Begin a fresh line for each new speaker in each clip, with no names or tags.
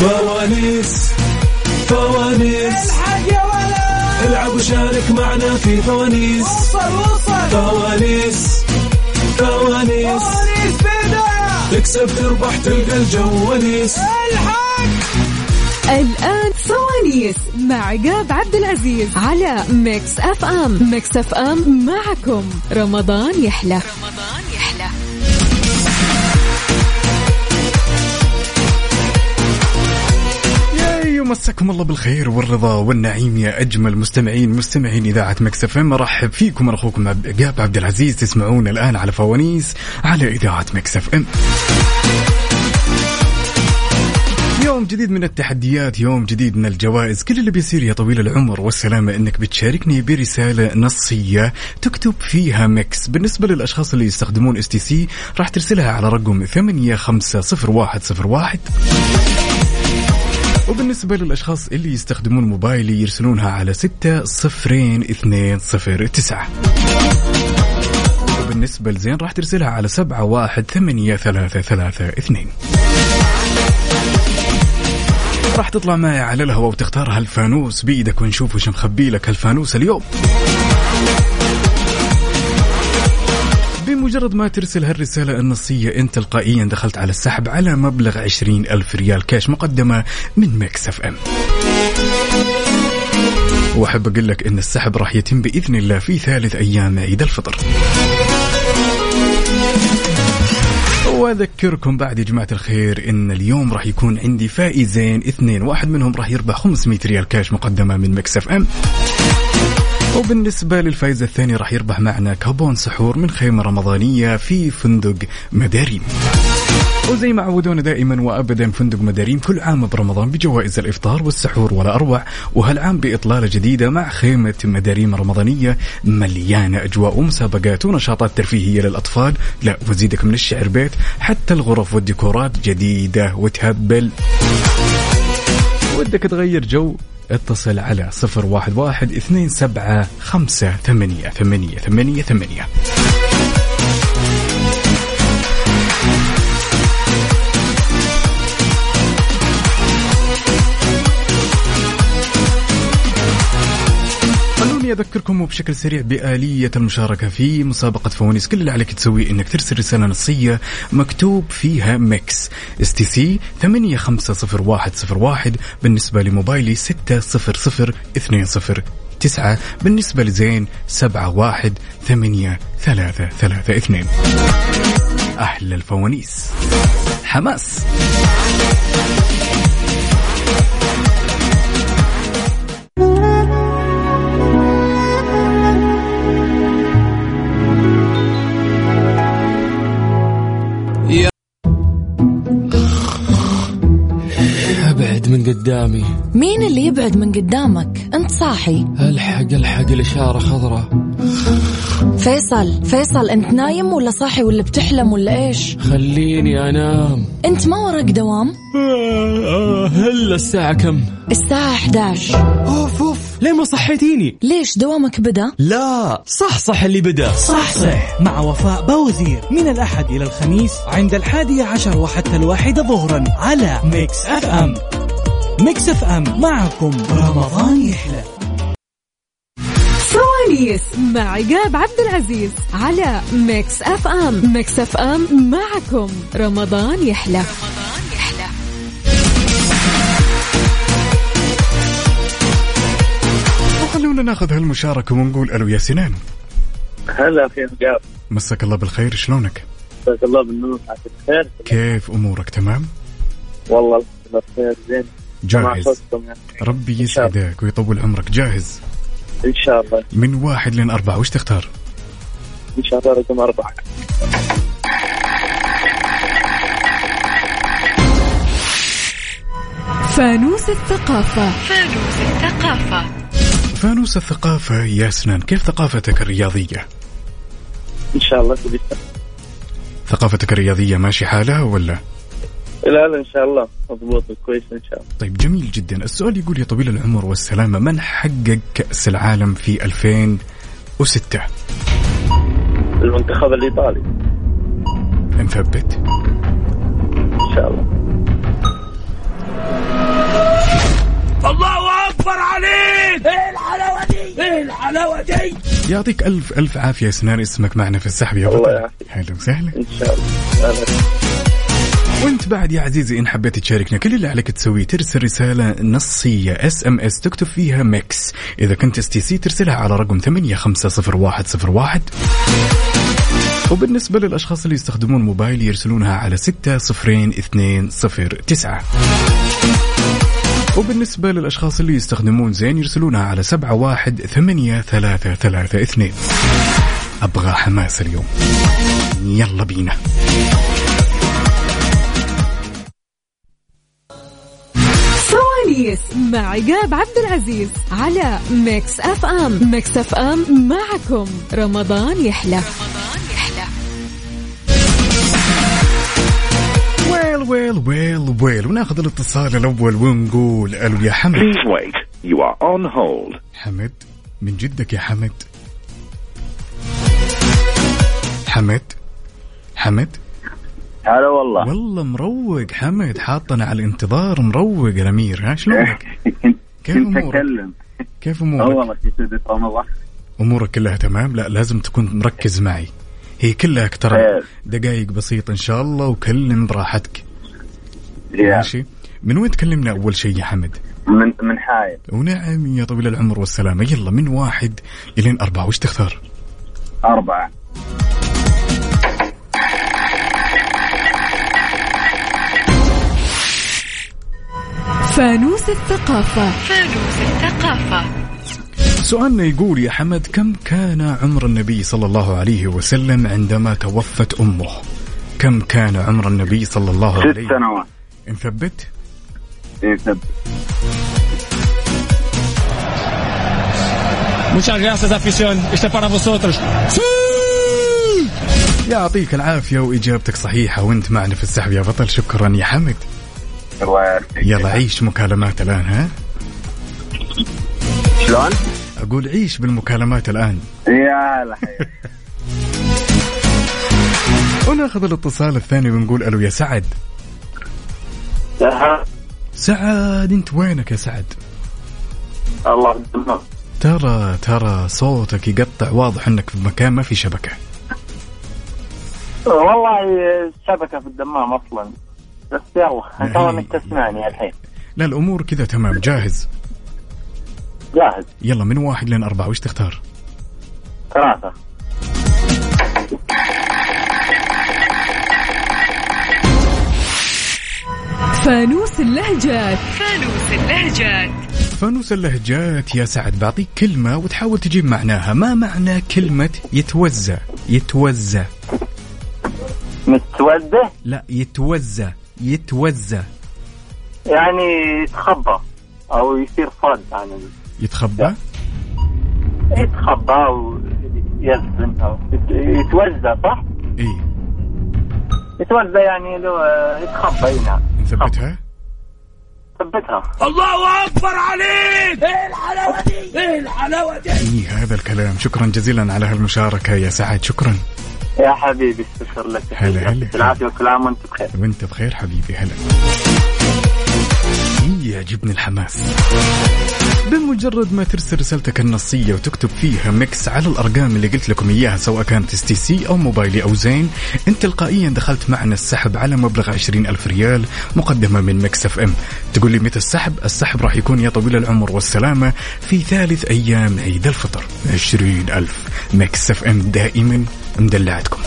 فوانيس فوانيس
الحق يا ولد
العب وشارك معنا في فوانيس
وصل وصل
فوانيس فوانيس
فوانيس بداية
تكسب تربح تلقى الجواليس
الحق
الآن صوانيس مع عقاب عبد العزيز على ميكس أف أم ميكس أف أم معكم رمضان يحلى رمضان يحلى
ياي ومسكم الله بالخير والرضا والنعيم يا اجمل مستمعين مستمعين اذاعه مكسف ام مرحب فيكم انا اخوكم عب- عقاب عبد العزيز تسمعون الان على فوانيس على اذاعه مكسف ام يوم جديد من التحديات يوم جديد من الجوائز كل اللي بيصير يا طويل العمر والسلامة انك بتشاركني برسالة نصية تكتب فيها ميكس بالنسبة للاشخاص اللي يستخدمون اس تي سي راح ترسلها على رقم 850101 وبالنسبة للأشخاص اللي يستخدمون موبايلي يرسلونها على ستة صفرين اثنين صفر تسعة وبالنسبة لزين راح ترسلها على سبعة واحد ثمانية ثلاثة ثلاثة اثنين راح تطلع معي على الهواء وتختار هالفانوس بيدك ونشوف وش مخبي لك هالفانوس اليوم بمجرد ما ترسل هالرسالة النصية انت تلقائيا دخلت على السحب على مبلغ عشرين ألف ريال كاش مقدمة من مكسف ام واحب اقول لك ان السحب راح يتم باذن الله في ثالث ايام عيد الفطر واذكركم بعد يا جماعه الخير ان اليوم راح يكون عندي فائزين اثنين واحد منهم راح يربح 500 ريال كاش مقدمه من مكسف ام وبالنسبة للفائز الثاني راح يربح معنا كابون سحور من خيمة رمضانية في فندق مداريم وزي ما عودونا دائما وابدا فندق مداريم كل عام برمضان بجوائز الافطار والسحور ولا اروع وهالعام باطلاله جديده مع خيمه مداريم رمضانيه مليانه اجواء ومسابقات ونشاطات ترفيهيه للاطفال لا وتزيدك من الشعر بيت حتى الغرف والديكورات جديده وتهبل ودك تغير جو اتصل على صفر واحد واحد اثنين سبعة خمسة ثمانية ثمانية ثمانية ثمانية خلوني اذكركم وبشكل سريع باليه المشاركه في مسابقه فوانيس كل اللي عليك تسويه انك ترسل رساله نصيه مكتوب فيها ميكس اس تي سي 850101 بالنسبه لموبايلي 600209 بالنسبه لزين 718332 احلى الفوانيس حماس
ابعد من قدامي
مين اللي يبعد من قدامك انت صاحي
الحق الحق الاشاره خضراء
فيصل فيصل انت نايم ولا صاحي ولا بتحلم ولا ايش
خليني انام
انت ما وراك دوام
آه، هلا الساعه كم
الساعة 11
اوف اوف ليه ما صحيتيني
ليش دوامك بدا
لا صح صح اللي بدا
صح صح مع وفاء بوزير من الأحد إلى الخميس عند الحادية عشر وحتى الواحدة ظهرا على ميكس أف أم ميكس أف أم معكم رمضان يحلى
صوانيس مع عقاب عبد العزيز على ميكس أف أم ميكس أف أم معكم رمضان يحلى رمضان يحلى
وخلونا ناخذ هالمشاركه ونقول الو يا سنان
هلا في عقاب
مساك الله بالخير شلونك
جزاك الله بالنور عساك بخير
كيف امورك تمام
والله الحمد لله بخير زين مع
جاهز
صوتكم يعني
ربي
إن شاء الله.
يسعدك ويطول عمرك جاهز
ان شاء الله
من واحد لين أربعة وش تختار
ان شاء الله رقم اربعه
فانوس الثقافة
فانوس الثقافة يا سنان كيف ثقافتك الرياضية
ان شاء الله تبيتها
ثقافتك الرياضية ماشي حالها ولا
لا لا ان شاء الله مضبوط كويس ان شاء الله
طيب جميل جدا السؤال يقول يا طويل العمر والسلامة من حقق كأس العالم في 2006
المنتخب الايطالي
نثبت
ان شاء الله
الحلاوه دي
يعطيك ألف ألف عافية سنان اسمك معنا في السحب يا
الله
بطل
يعافيك.
حلو وسهلا
ان شاء الله أهلاً.
وانت بعد يا عزيزي ان حبيت تشاركنا كل اللي عليك تسويه ترسل رساله نصيه اس ام اس تكتب فيها ميكس اذا كنت اس تي سي ترسلها على رقم 850101 وبالنسبة للأشخاص اللي يستخدمون موبايل يرسلونها على 602209 وبالنسبة للأشخاص اللي يستخدمون زين يرسلونها على 718332 أبغى حماس اليوم يلا بينا
سواليس مع عقاب عبد العزيز على ميكس اف ام ميكس اف ام معكم رمضان يحلى
ويل ويل ويل ويل وناخذ الاتصال الاول ونقول الو يا حمد
إيه.
Please wait. You are on hold.
حمد من جدك يا حمد حمد حمد
هلا والله
والله مروق حمد حاطنا على الانتظار مروق يا الامير ها شلونك
إيه.
كيف امورك
اتكلم
كيف امورك
في سدة رمضان
امورك كلها تمام لا لازم تكون مركز معي هي كلها ترى
خير.
دقائق بسيطه ان شاء الله وكلم براحتك ماشي من وين تكلمنا اول شيء يا حمد
من من حايل
ونعم يا طويل العمر والسلامة يلا من واحد إلين أربعة وش تختار
أربعة
فانوس الثقافة
سؤالنا يقول يا حمد كم كان عمر النبي صلى الله عليه وسلم عندما توفت أمه كم كان عمر النبي صلى الله
ست
عليه
سنوات
نثبت
إيه، ثبت.
Muchas gracias, afición. Este para vosotros.
يعطيك العافية وإجابتك صحيحة وأنت معنا في السحب يا بطل شكرا يا حمد
الله يعافيك
يلا عيش مكالمات الآن ها
شلون؟
أقول عيش بالمكالمات الآن
يا هلا حياتي
وناخذ الاتصال الثاني ونقول ألو يا سعد سعد أنت وينك يا سعد
الله يسلمك
ترى ترى صوتك يقطع واضح انك في مكان ما في شبكه
والله الشبكة في الدمام أصلا بس يلا تو انك تسمعني الحين
لا الامور كذا تمام جاهز
جاهز
يلا من واحد لين اربعه وش تختار
ثلاثة
فانوس اللهجات
فانوس اللهجات يا سعد بعطيك كلمه وتحاول تجيب معناها ما معنى كلمه يتوزى يتوزى
متوده
لا يتوزى يتوزى
يعني يتخبى أو يصير صد عن ال-
يتخبى
يتخبى أو يزن أو يت- يتوزى صح؟
اي
يتوزى يعني لو آه، يتخبى هنا
نثبتها
ثبتها
الله اكبر عليك ايه الحلاوه دي ايه الحلاوه دي
اي إيه، هذا الكلام شكرا جزيلا على هالمشاركه يا سعد شكرا
يا حبيبي استشر لك
هلا، هلا.
يعطيك العافية وكل عام وأنت بخير
وانت بخير حبيبي هلا إيه، يعجبني الحماس بمجرد ما ترسل رسالتك النصية وتكتب فيها ميكس على الأرقام اللي قلت لكم إياها سواء كانت اس تي سي أو موبايلي أو زين أنت تلقائيا دخلت معنا السحب على مبلغ 20 ألف ريال مقدمة من ميكس اف ام تقول لي متى السحب؟ السحب راح يكون يا طويل العمر والسلامة في ثالث أيام عيد الفطر 20 ألف ميكس اف ام دائما مدلعتكم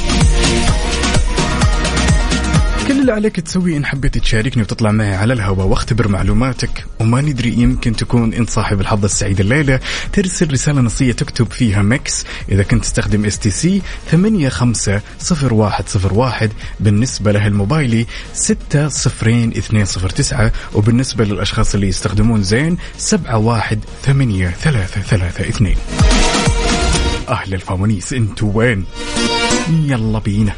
كل اللي عليك تسويه ان حبيت تشاركني وتطلع معي على الهواء واختبر معلوماتك وما ندري يمكن تكون انت صاحب الحظ السعيد الليله ترسل رساله نصيه تكتب فيها مكس اذا كنت تستخدم اس تي سي 850101 بالنسبه له الموبايلي 600209 وبالنسبه للاشخاص اللي يستخدمون زين 718332 اهل الفوانيس انتوا وين؟ يلا بينا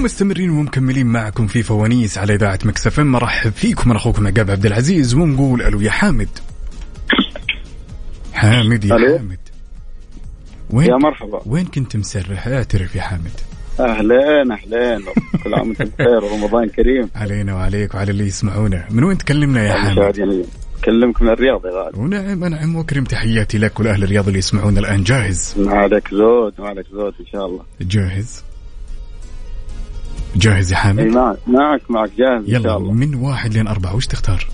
مستمرين ومكملين معكم في فوانيس على اذاعه مكسف ام مرحب فيكم انا اخوكم عقاب عبد العزيز ونقول الو يا حامد حامد يا
ألو.
حامد وين
يا مرحبا.
وين كنت مسرح اعترف يا حامد
اهلين اهلين كل عام وانتم بخير ورمضان كريم يعني
علينا وعليك وعلى اللي يسمعونا من وين تكلمنا يا حامد
مشاهدين اكلمك من الرياض يا غالي
ونعم انعم واكرم تحياتي لك والاهل الرياض اللي يسمعونا الان جاهز
ما عليك زود ما عليك زود ان شاء الله
جاهز جاهز يا
اي
حامد
معك معك معك جاهز ان
يلا
شاء الله
من واحد لين أربعة وش تختار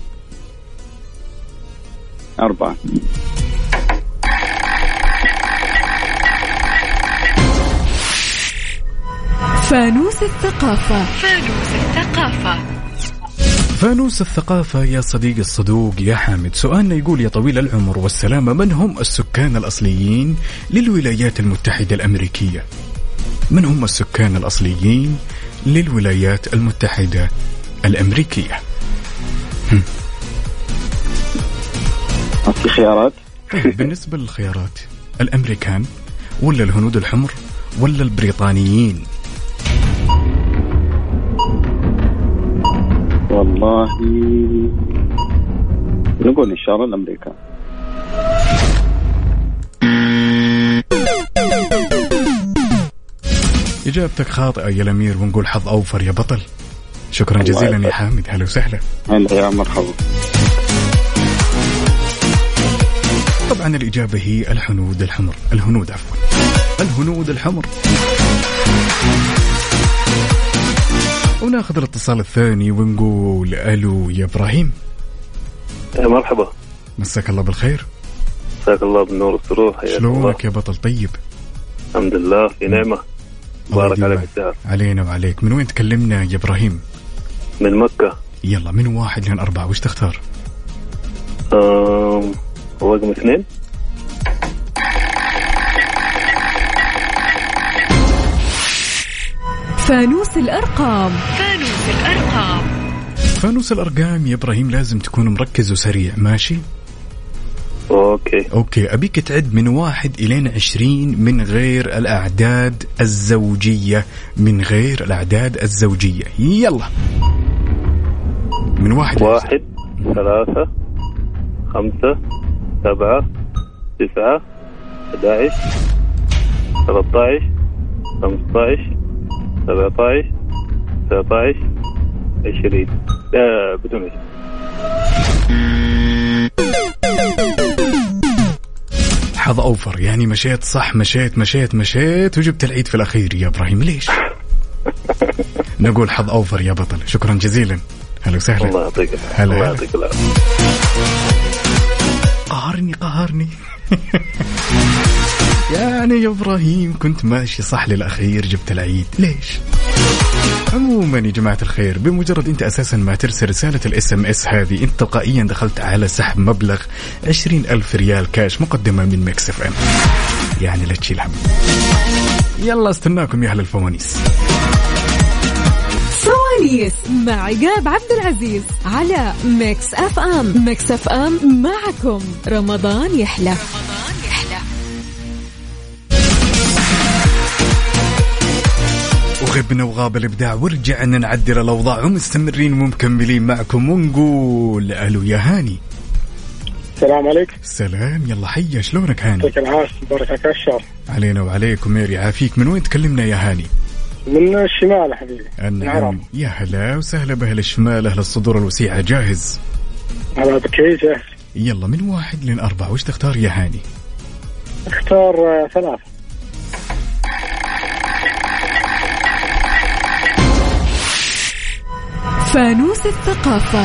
اربعه
فانوس الثقافة
فانوس الثقافة يا صديق الصدوق يا حامد سؤالنا يقول يا طويل العمر والسلامة من هم السكان الأصليين للولايات المتحدة الأمريكية من هم السكان الأصليين للولايات المتحدة الأمريكية
في خيارات
طيب بالنسبة للخيارات الأمريكان ولا الهنود الحمر ولا البريطانيين
والله نقول ان شاء الله الامريكا
إجابتك خاطئة يا الأمير ونقول حظ أوفر يا بطل شكرا
الله
جزيلا يا
يسعدك.
حامد هلا وسهلا
هلا يا مرحبا
طبعا الإجابة هي الحنود الحمر الهنود عفوا الهنود الحمر وناخذ الاتصال الثاني ونقول ألو يا إبراهيم
يا مرحبا
مساك الله بالخير
مساك الله بالنور والسرور حياك الله
شلونك يا بطل طيب
الحمد لله في نعمه
الله
بارك عليك
يديمك.
الدهر
علينا وعليك من وين تكلمنا يا إبراهيم
من مكه
يلا من واحد لين أربعة وش تختار
آم، رقم اثنين
فانوس الأرقام
فانوس الأرقام يا إبراهيم لازم تكون مركز وسريع ماشي
اوكي
أوكي أبيك تعد من واحد إلين عشرين من غير الأعداد الزوجية من غير الأعداد الزوجية يلا من واحد لعشرين.
واحد ثلاثة خمسة سبعة تسعة 11 13 15 17 19 20 لا بدون عشرين.
حظ أوفر يعني مشيت صح مشيت مشيت مشيت وجبت العيد في الأخير يا إبراهيم ليش نقول حظ أوفر يا بطل شكرا جزيلا هلا وسهلا
الله يعطيك العافية.
هلا
الله
هلا.
يعطيك العافية
قهرني قهرني يعني يا ابراهيم كنت ماشي صح للاخير جبت العيد ليش عموما يا جماعه الخير بمجرد انت اساسا ما ترسل رساله الاس ام اس هذه انت تلقائيا دخلت على سحب مبلغ 20 الف ريال كاش مقدمه من مكس اف ام يعني لا تشيل هم يلا استناكم يا اهل الفوانيس
فوانيس مع عقاب عبد العزيز على ميكس اف ام ميكس اف ام معكم رمضان يحلى
وغبنا وغاب الابداع ورجعنا نعدل الاوضاع ومستمرين ومكملين معكم ونقول الو يا هاني
السلام عليكم
سلام يلا حيا شلونك هاني
يعطيك العافيه بارك عليك الشر
علينا وعليكم ميري عافيك من وين تكلمنا يا هاني
من الشمال يا حبيبي
النعم يا هلا وسهلا باهل الشمال اهل الصدور الوسيعه جاهز
على بكريجه
يلا من واحد لين أربعة وش تختار يا هاني
اختار آه، ثلاثة
فانوس الثقافة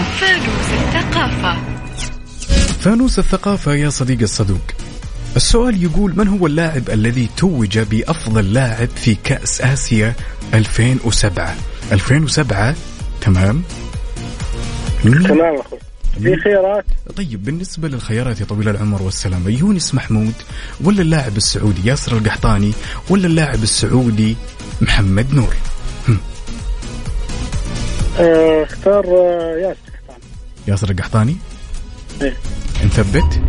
فانوس الثقافة يا صديقي الصدوق السؤال يقول من هو اللاعب الذي توج بأفضل لاعب في كأس آسيا 2007 2007 تمام
تمام يا اخوي في خيارات
طيب بالنسبة للخيارات يا طويل العمر والسلامة يونس محمود ولا اللاعب السعودي ياسر القحطاني ولا اللاعب السعودي محمد نور
آه، اختار آه، ياسر كتان
ياسر القحطاني
إيه.
نثبت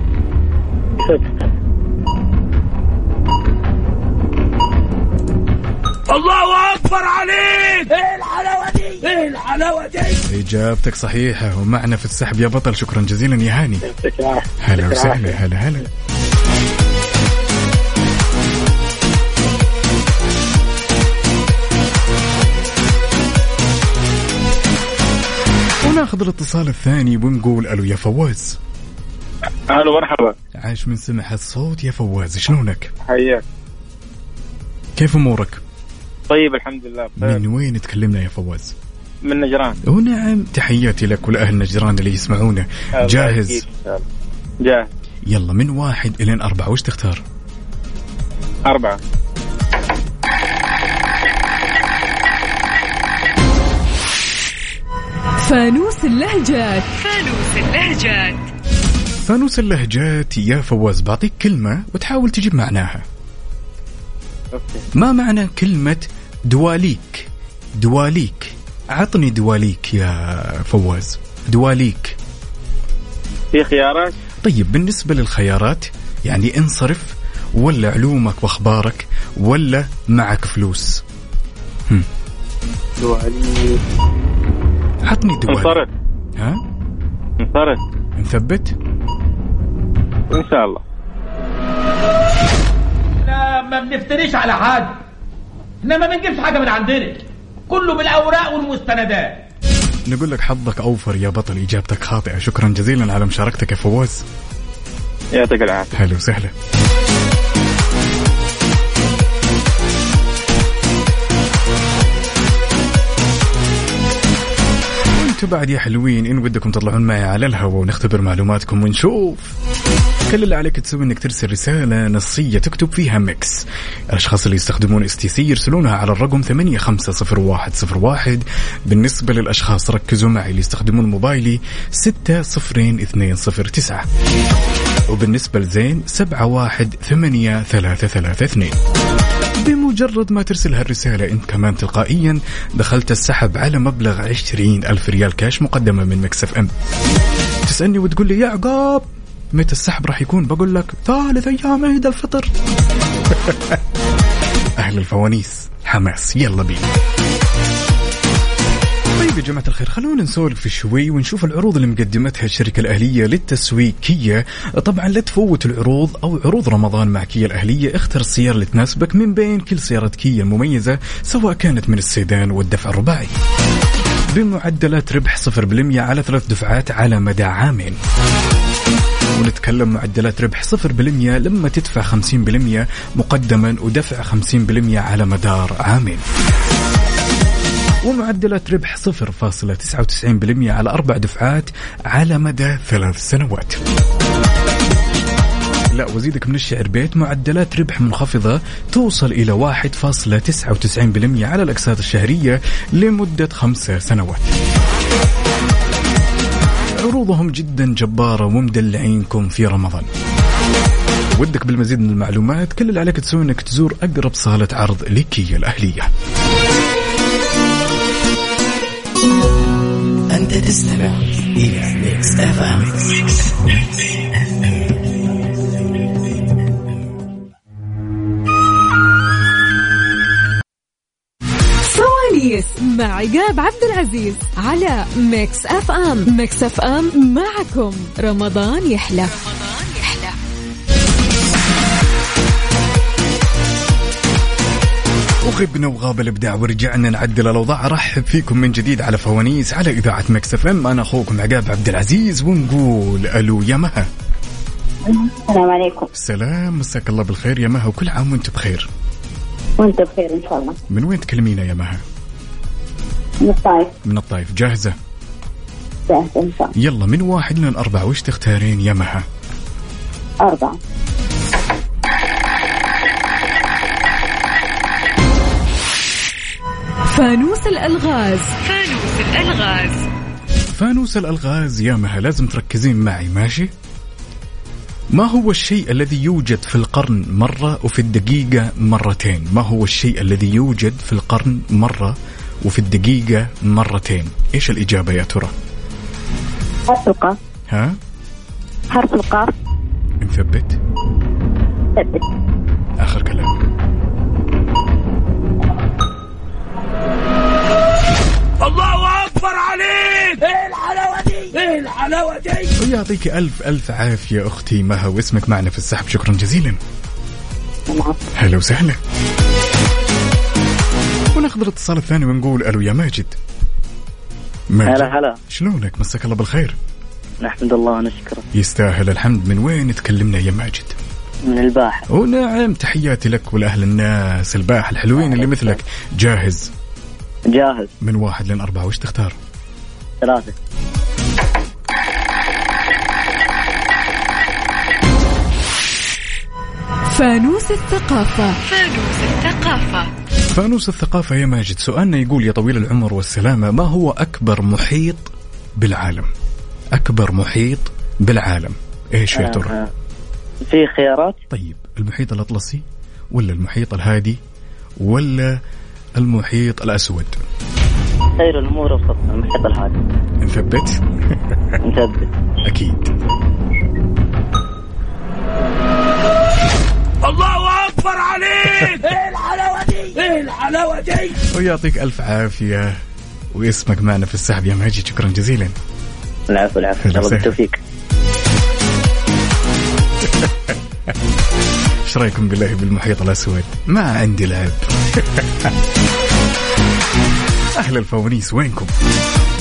الله اكبر نكبر عليك ايه الحلاوه دي ايه الحلاوه دي
اجابتك صحيحه ومعنا في السحب يا بطل شكرا جزيلا يا هاني هلا وسهلا هلا هلا وناخذ الاتصال الثاني ونقول الو يا فواز
الو مرحبا
عاش من سمع الصوت يا فواز شلونك؟
حياك
كيف امورك؟
طيب الحمد لله بخير
من وين تكلمنا يا فواز؟
من نجران
ونعم تحياتي لك ولاهل نجران اللي يسمعونا
آه، الله
جاهز
يجزيك إن شاء الله. جاهز
يلا من واحد الين اربعه وش تختار؟
أربعة
فانوس اللهجات
فانوس اللهجات يا فواز بعطيك كلمه وتحاول تجيب معناها
أوكي
ما معنى كلمه دواليك؟ دواليك عطني دواليك يا فواز دواليك
في خيارات
طيب بالنسبة للخيارات يعني انصرف ولا علومك واخبارك ولا معك فلوس
دوالي
عطني دوالي
انصرف
ها
انصرف
نثبت
إن شاء الله
احنا ما بنفتريش على حد احنا ما بنجيبش حاجه من عندنا كله بالاوراق والمستندات
نقول لك حظك اوفر يا بطل اجابتك خاطئة شكرا جزيلا على مشاركتك يا فواز
يعطيك العافية
هلا وسهلا وانتوا بعد يا حلوين ان ودكم تطلعون معي على الهواء ونختبر معلوماتكم ونشوف كل اللي عليك تسوي انك ترسل رساله نصيه تكتب فيها ميكس الاشخاص اللي يستخدمون اس تي سي يرسلونها على الرقم 850101 بالنسبه للاشخاص ركزوا معي اللي يستخدمون موبايلي 602209 وبالنسبة لزين سبعة واحد ثمانية ثلاثة ثلاثة اثنين بمجرد ما ترسل هالرسالة انت كمان تلقائيا دخلت السحب على مبلغ عشرين ألف ريال كاش مقدمة من مكسف ام تسألني وتقول لي يا عقاب متى السحب راح يكون بقول لك ثالث أيام عيد الفطر أهل الفوانيس حماس يلا بينا طيب يا جماعة الخير خلونا نسولف شوي ونشوف العروض اللي مقدمتها الشركة الأهلية للتسويق كيا طبعا لا تفوت العروض أو عروض رمضان مع كيا الأهلية اختر السيارة اللي تناسبك من بين كل سيارات كيا المميزة سواء كانت من السيدان والدفع الرباعي بمعدلات ربح 0% على ثلاث دفعات على مدى عامين ونتكلم معدلات ربح 0% لما تدفع 50% مقدما ودفع 50% على مدار عامين ومعدلات ربح 0.99% على أربع دفعات على مدى ثلاث سنوات لا وزيدك من الشعر بيت معدلات ربح منخفضة توصل إلى 1.99% على الأقساط الشهرية لمدة خمسة سنوات عروضهم جدا جبارة ومدلعينكم في رمضان ودك بالمزيد من المعلومات كل اللي عليك تسوي انك تزور اقرب صالة عرض لكيا الاهلية
أنت تستمع إلى ميكس أف أم
سواليس مع عقاب عبد العزيز على ميكس اف ام ميكس اف ام معكم رمضان يحلى
وغبنا وغاب الابداع ورجعنا نعدل الاوضاع ارحب فيكم من جديد على فوانيس على اذاعه مكس اف ام انا اخوكم عقاب عبد العزيز ونقول الو يا مها
السلام عليكم
سلام مساك الله بالخير يا مها وكل عام وانت بخير
وانت بخير ان شاء الله
من وين تكلمينا يا مها
من الطايف
من الطايف جاهزه
جاهز ان شاء الله
يلا من واحد لين اربعه وش تختارين يا مها
أربعة
فانوس الالغاز
فانوس الالغاز يا مها لازم تركزين معي ماشي ما هو الشيء الذي يوجد في القرن مرة وفي الدقيقة مرتين ما هو الشيء الذي يوجد في القرن مرة وفي الدقيقة مرتين ايش الإجابة يا ترى
حرف القاف
ها
حرف القاف
نثبت
ثبت
آخر كلام
الله اكبر عليك ايه الحلاوه دي ايه الحلاوه دي
ويعطيك ألف ألف عافية أختي مها واسمك معنا في السحب شكرا جزيلا هلا وسهلا وناخذ الاتصال الثاني ونقول ألو يا ماجد ماجد
هلا هلا
شلونك مساك الله بالخير
نحمد الله ونشكره
يستاهل الحمد من وين تكلمنا يا ماجد
من الباحة
ونعم نعم، تحياتي لك ولأهل الناس الباحة الحلوين اللي مثلك جاهز
جاهز
من واحد لين أربعة وش تختار
ثلاثة
فانوس الثقافة
فانوس الثقافة يا ماجد سؤالنا يقول يا طويل العمر والسلامة ما هو أكبر محيط بالعالم أكبر محيط بالعالم إيش يا ترى
آه، في خيارات
طيب المحيط الأطلسي ولا المحيط الهادي ولا المحيط الأسود
خير الامور وسط المحيط الهادي
نثبت
نثبت
أكيد
الله اكبر عليك ايه الحلاوه دي ايه الحلاوه دي
ويعطيك ألف عافية واسمك معنا في السحب يا ماجد شكرا جزيلا
العفو العفو
أهلا
الله
وسهلا.
بالتوفيق
ايش رايكم بالله بالمحيط الاسود؟ ما عندي لعب. اهل الفوانيس وينكم؟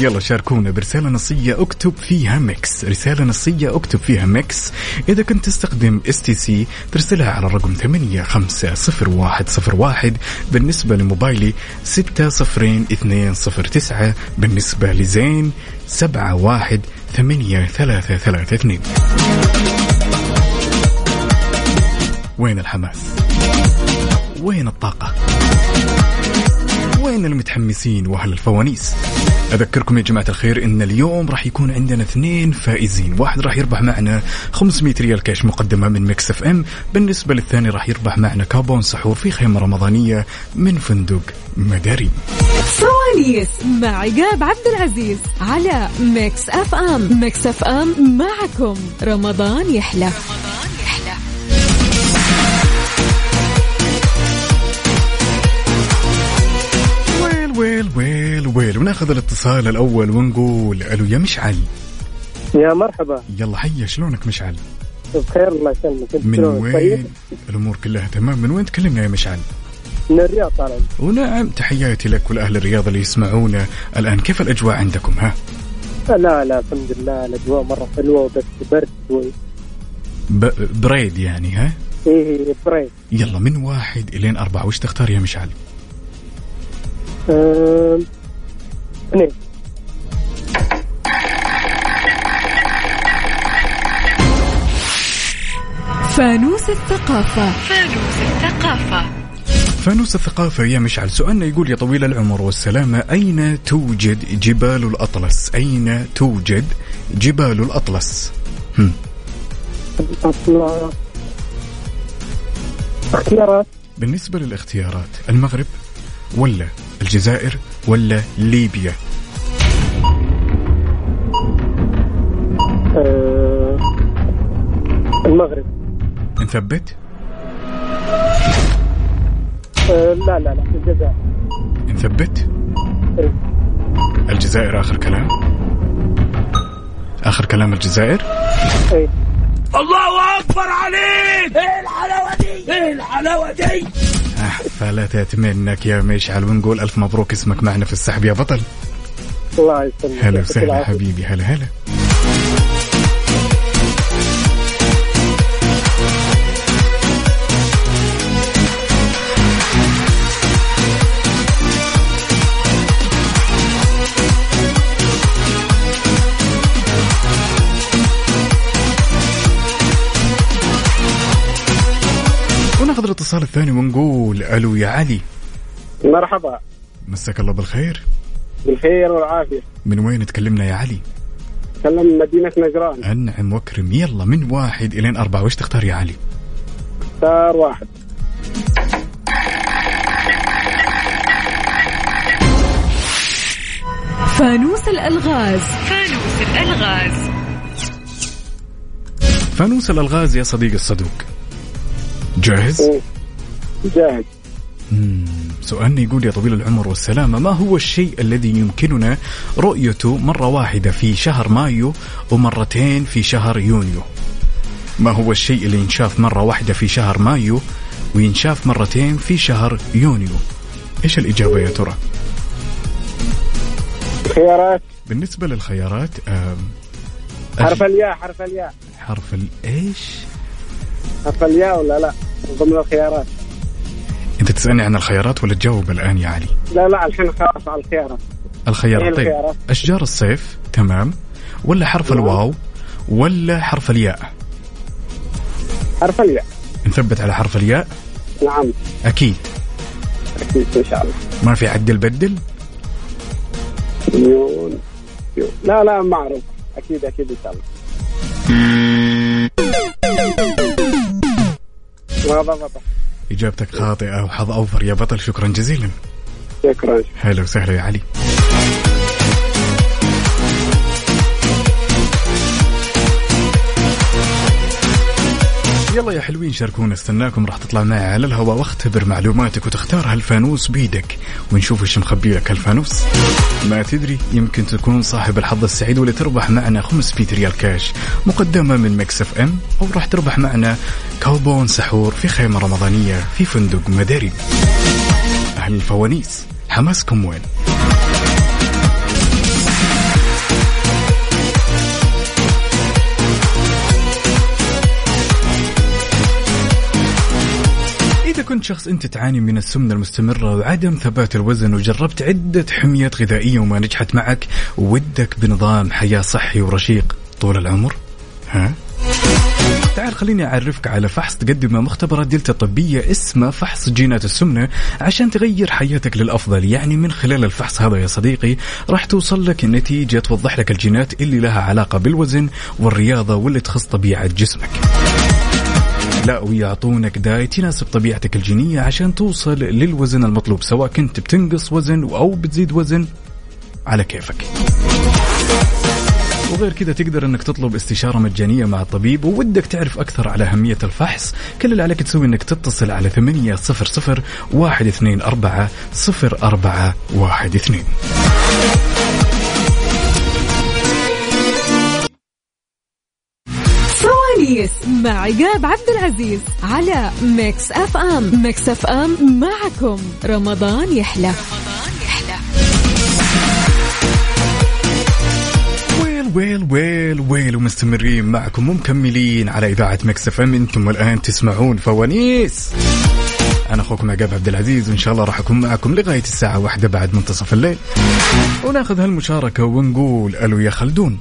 يلا شاركونا برسالة نصية اكتب فيها ميكس، رسالة نصية اكتب فيها ميكس، إذا كنت تستخدم اس تي سي ترسلها على الرقم 850101 بالنسبة لموبايلي 60209 بالنسبة لزين 718332 وين الحماس؟ وين الطاقة؟ وين المتحمسين واهل الفوانيس؟ اذكركم يا جماعه الخير ان اليوم راح يكون عندنا اثنين فائزين، واحد راح يربح معنا 500 ريال كاش مقدمه من مكس اف ام، بالنسبه للثاني راح يربح معنا كابون سحور في خيمه رمضانيه من فندق مداري.
سواليس مع عقاب عبد العزيز على ميكس اف ام ميكس اف ام معكم رمضان يحلى
ويل ويل ويل ويل وناخذ الاتصال الاول ونقول الو يا مشعل،
يا مرحبا
يلا حيا شلونك مشعل؟
بخير الله يسلمك انت
من
شلونك؟ طيب
وين؟ الامور كلها تمام، من وين تكلمنا يا مشعل؟
من الرياض طالع
ونعم تحياتي لك ولأهل الرياض اللي يسمعونا الآن كيف الأجواء عندكم ها؟
لا لا الحمد لله الاجواء مره حلوه بس برد شوي
ب... بريد يعني ها؟
ايه بريد
يلا من واحد إلين أربعة وش تختار يا مشعل؟
أم، اثنين
فانوس الثقافة
فانوس الثقافة يا مشعل سؤالنا يقول يا طويل العمر والسلامة أين توجد جبال الأطلس؟ أين توجد جبال الأطلس؟ هم.
أطلع. اختيارات
بالنسبة للاختيارات المغرب ولا الجزائر ولا ليبيا؟
أم، المغرب
نثبت؟
أم، لا لا لا الجزائر
نثبت؟
إيه.
الجزائر آخر كلام؟ آخر كلام الجزائر؟
إيه.
الله اكبر عليك ايه الحلاوه دي ايه الحلاوه دي
فلتت منك يا مشعل ونقول ألف مبروك اسمك معنا في السحب يا بطل
الله يسلمك
هلا
يعطيك
وسهلا
العافية.
حبيبي هلا هلا وناخذ الاتصال الثاني ونقول الو يا علي
مرحبا
مساك الله بالخير
بالخير والعافيه
من وين تكلمنا يا علي
تكلم من مدينه نجران
انعم واكرم يلا من واحد الين اربعه وش تختار يا علي
اختار واحد
فانوس الألغاز
فانوس الالغاز يا صديقي الصدوق جاهز
جاهز
مم. سؤالنا يقول يا طويل العمر والسلامة ما هو الشيء الذي يمكننا رؤيته مرة واحدة في شهر مايو ومرتين في شهر يونيو ما هو الشيء اللي ينشاف مرة واحدة في شهر مايو وينشاف مرتين في شهر يونيو ايش الإجابة يا ترى
خيارات
بالنسبة للخيارات آم،
حرف الياء حرف الياء
حرف ال ايش
حرف الياء ولا لا من ضمن الخيارات
انت تسألني عن الخيارات ولا تجاوب الآن يا علي
لا لا الحين خلاص على الخيارات إيه
الخيارات طيب
الخيارات؟ أيوه.
أشجار الصيف تمام ولا حرف الواو ولا حرف الياء
حرف الياء
نثبت على حرف الياء
نعم
أكيد
اكيد ان شاء الله
ما في عدل بدل
يون يون. لا لا معروف اكيد اكيد ان شاء الله ما ضبط
إجابتك خاطئة وحظ أوفر يا بطل شكرا جزيلا
شكرا
هلا وسهلا يا علي يلا يا حلوين شاركونا استناكم راح تطلع معي على الهواء واختبر معلوماتك وتختار هالفانوس بيدك ونشوف ايش مخبي لك هالفانوس ما تدري يمكن تكون صاحب الحظ السعيد واللي تربح معنا 500 ريال كاش مقدمة من مكس اف ام او راح تربح معنا كوبون سحور في خيمة رمضانية في فندق مداري اهل الفوانيس حماسكم وين؟ إذا كنت شخص أنت تعاني من السمنة المستمرة وعدم ثبات الوزن وجربت عدة حميات غذائية وما نجحت معك ودك بنظام حياة صحي ورشيق طول العمر ها؟ تعال خليني أعرفك على فحص تقدمه مختبرات دلتا الطبية اسمه فحص جينات السمنة عشان تغير حياتك للأفضل يعني من خلال الفحص هذا يا صديقي راح توصل لك النتيجة توضح لك الجينات اللي لها علاقة بالوزن والرياضة واللي تخص طبيعة جسمك لا ويعطونك دايت يناسب طبيعتك الجينية عشان توصل للوزن المطلوب سواء كنت بتنقص وزن أو بتزيد وزن على كيفك وغير كذا تقدر انك تطلب استشارة مجانية مع الطبيب وودك تعرف اكثر على اهمية الفحص كل اللي عليك تسوي انك تتصل على 800 124 0412
سواليس مع عقاب عبد العزيز على ميكس اف ام ميكس اف ام معكم رمضان يحلى
ويل ويل ويل ويل ومستمرين معكم ومكملين على اذاعه مكس اف ام انتم الان تسمعون فوانيس انا اخوكم عقاب عبد العزيز وان شاء الله راح اكون معكم لغايه الساعه واحدة بعد منتصف الليل وناخذ هالمشاركه ونقول الو يا خلدون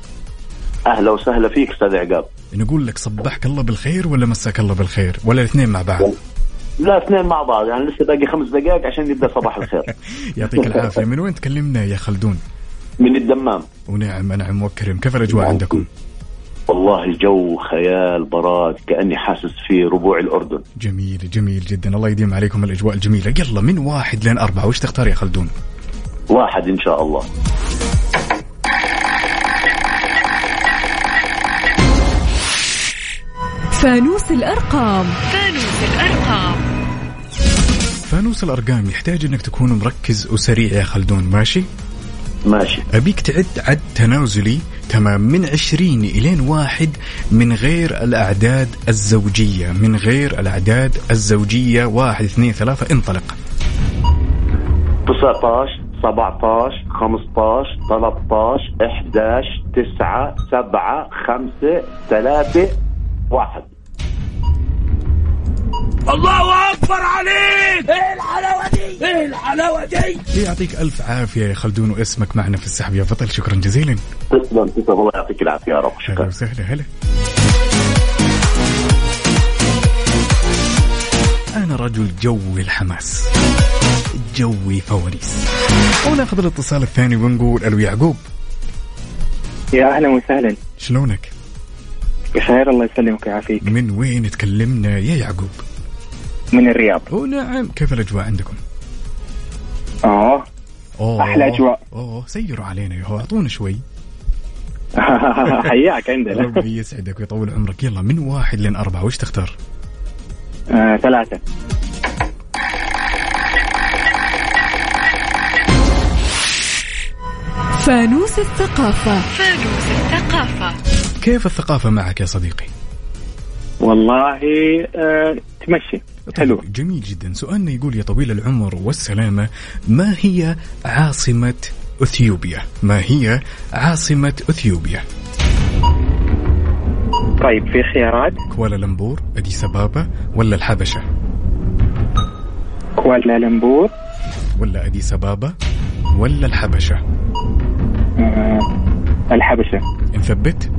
اهلا وسهلا فيك استاذ عقاب
نقول لك صبحك الله بالخير ولا مساك الله بالخير ولا الاثنين مع بعض
لا اثنين مع بعض يعني لسه باقي خمس دقائق عشان يبدا صباح الخير
يعطيك العافيه من وين تكلمنا يا خلدون
من الدمام
ونعم نعم وكرم كيف الاجواء عندكم
والله الجو خيال براد كاني حاسس في ربوع الاردن
جميل جميل جدا الله يديم عليكم الاجواء الجميله يلا من واحد لين اربعه وش تختار يا خلدون
واحد ان شاء الله
فانوس الارقام
فانوس الارقام يحتاج انك تكون مركز وسريع يا خلدون ماشي
ماشي
ابيك تعد عد تنازلي تمام من 20 الين واحد من غير الاعداد الزوجيه من غير الاعداد الزوجيه واحد اثنين ثلاثه انطلق
19 17 15 13 11 9 7 5 3 1
الله اكبر عليك ايه الحلاوه دي ايه الحلاوه دي
يعطيك الف عافيه يا خلدون واسمك معنا في السحب يا بطل شكرا جزيلا
تسلم تسلم الله يعطيك العافيه يا رب
هلا وسهلا هلا أنا رجل جوي الحماس جوي فوانيس وناخذ الاتصال الثاني ونقول ألو يعقوب
يا اهلا وسهلا
شلونك؟
بخير الله يسلمك ويعافيك
من وين تكلمنا يا يعقوب؟
من الرياض
ونعم كيف الأجواء عندكم؟
اه
أوه.
أحلى أجواء.
أوه سيروا علينا يا هو أعطونا شوي
حياك عندنا
ربي يسعدك ويطول عمرك يلا من واحد لين أربعة وش تختار؟
آه ثلاثة
فانوس الثقافة فانوس الثقافة
كيف الثقافة معك يا صديقي؟
والله آه، تمشي
حلو جميل جدا سؤالنا يقول يا طويل العمر والسلامة ما هي عاصمة أثيوبيا ما هي عاصمة أثيوبيا
طيب في خيارات
كوالالمبور أديس أبابا ولا الحبشة
كوالالمبور
ولا أديس أبابا ولا الحبشة
آه، الحبشة
نثبت